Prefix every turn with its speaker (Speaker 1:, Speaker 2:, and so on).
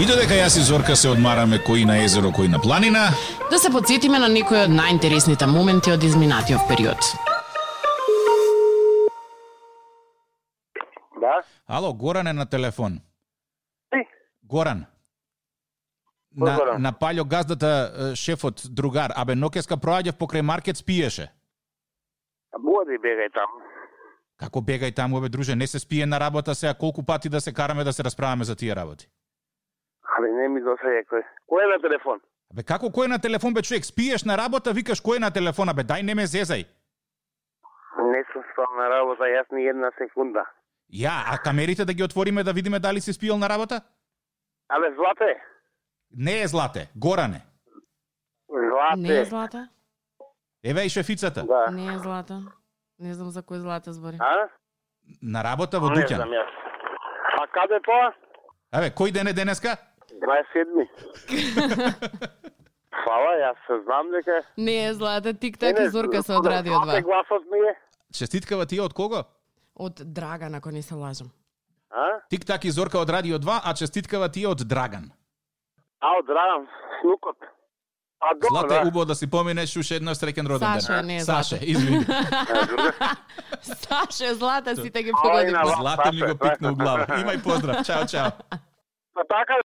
Speaker 1: И додека јас и Зорка се одмараме кои на езеро, кои на планина,
Speaker 2: Да се подсетиме на некои од најинтересните моменти од изминатиот период.
Speaker 3: Да,
Speaker 1: ало, Горан е на телефон.
Speaker 3: Ти?
Speaker 1: Горан.
Speaker 3: Кој
Speaker 1: На,
Speaker 3: Горан?
Speaker 1: на Палјо газдата, е, шефот, другар, абе, нокеска проаѓав покрај маркет, спиеше.
Speaker 3: води бегај там.
Speaker 1: Како бегај таму, бе, друже, не се спие на работа сега, колку пати да се караме да се расправаме за тие работи.
Speaker 3: Абе, не ми досаѓа кој. Кој е на телефон?
Speaker 1: Абе, како кој е на телефон, бе, човек, спиеш на работа, викаш кој е на телефона, бе, дај не ме зезај.
Speaker 3: Не сум спал на работа, јас ни една секунда.
Speaker 1: Ја, а камерите да ги отвориме да видиме дали си спиел на работа?
Speaker 3: Абе, Злате,
Speaker 1: Не е злате, Горане.
Speaker 3: Злате.
Speaker 2: Не е злата?
Speaker 1: Еве и шефицата.
Speaker 3: Да.
Speaker 2: Не е злата. Не знам за кој злата збори.
Speaker 3: А?
Speaker 1: На работа во
Speaker 3: Не знам
Speaker 1: Дуќан.
Speaker 3: јас. А каде тоа?
Speaker 1: Абе, кој ден е денеска?
Speaker 3: 27. Фала, јас се знам дека...
Speaker 2: Не е злата, тик
Speaker 3: Не,
Speaker 2: так
Speaker 3: не,
Speaker 2: и Така Зорка се
Speaker 3: кога
Speaker 2: од радио
Speaker 3: Злате
Speaker 2: 2.
Speaker 3: гласот ми е.
Speaker 1: Честиткава ти од кого?
Speaker 2: Од Драган, ако не се лажам.
Speaker 3: А?
Speaker 1: Тик так и Зорка од Радио 2, а честиткава ти од Драган.
Speaker 3: Ао, Драган, снукот. А добро,
Speaker 1: Злате,
Speaker 3: да.
Speaker 1: убаво да си поминеш уште еднаш среќен роден ден.
Speaker 2: Саша, не е
Speaker 1: Саше,
Speaker 2: Злате.
Speaker 1: извини.
Speaker 2: Саше, злата, сите ги
Speaker 3: Ај,
Speaker 2: погоди.
Speaker 3: на-
Speaker 1: Злате ми го пикна у глава. Имај поздрав. Чао, чао.
Speaker 3: Па така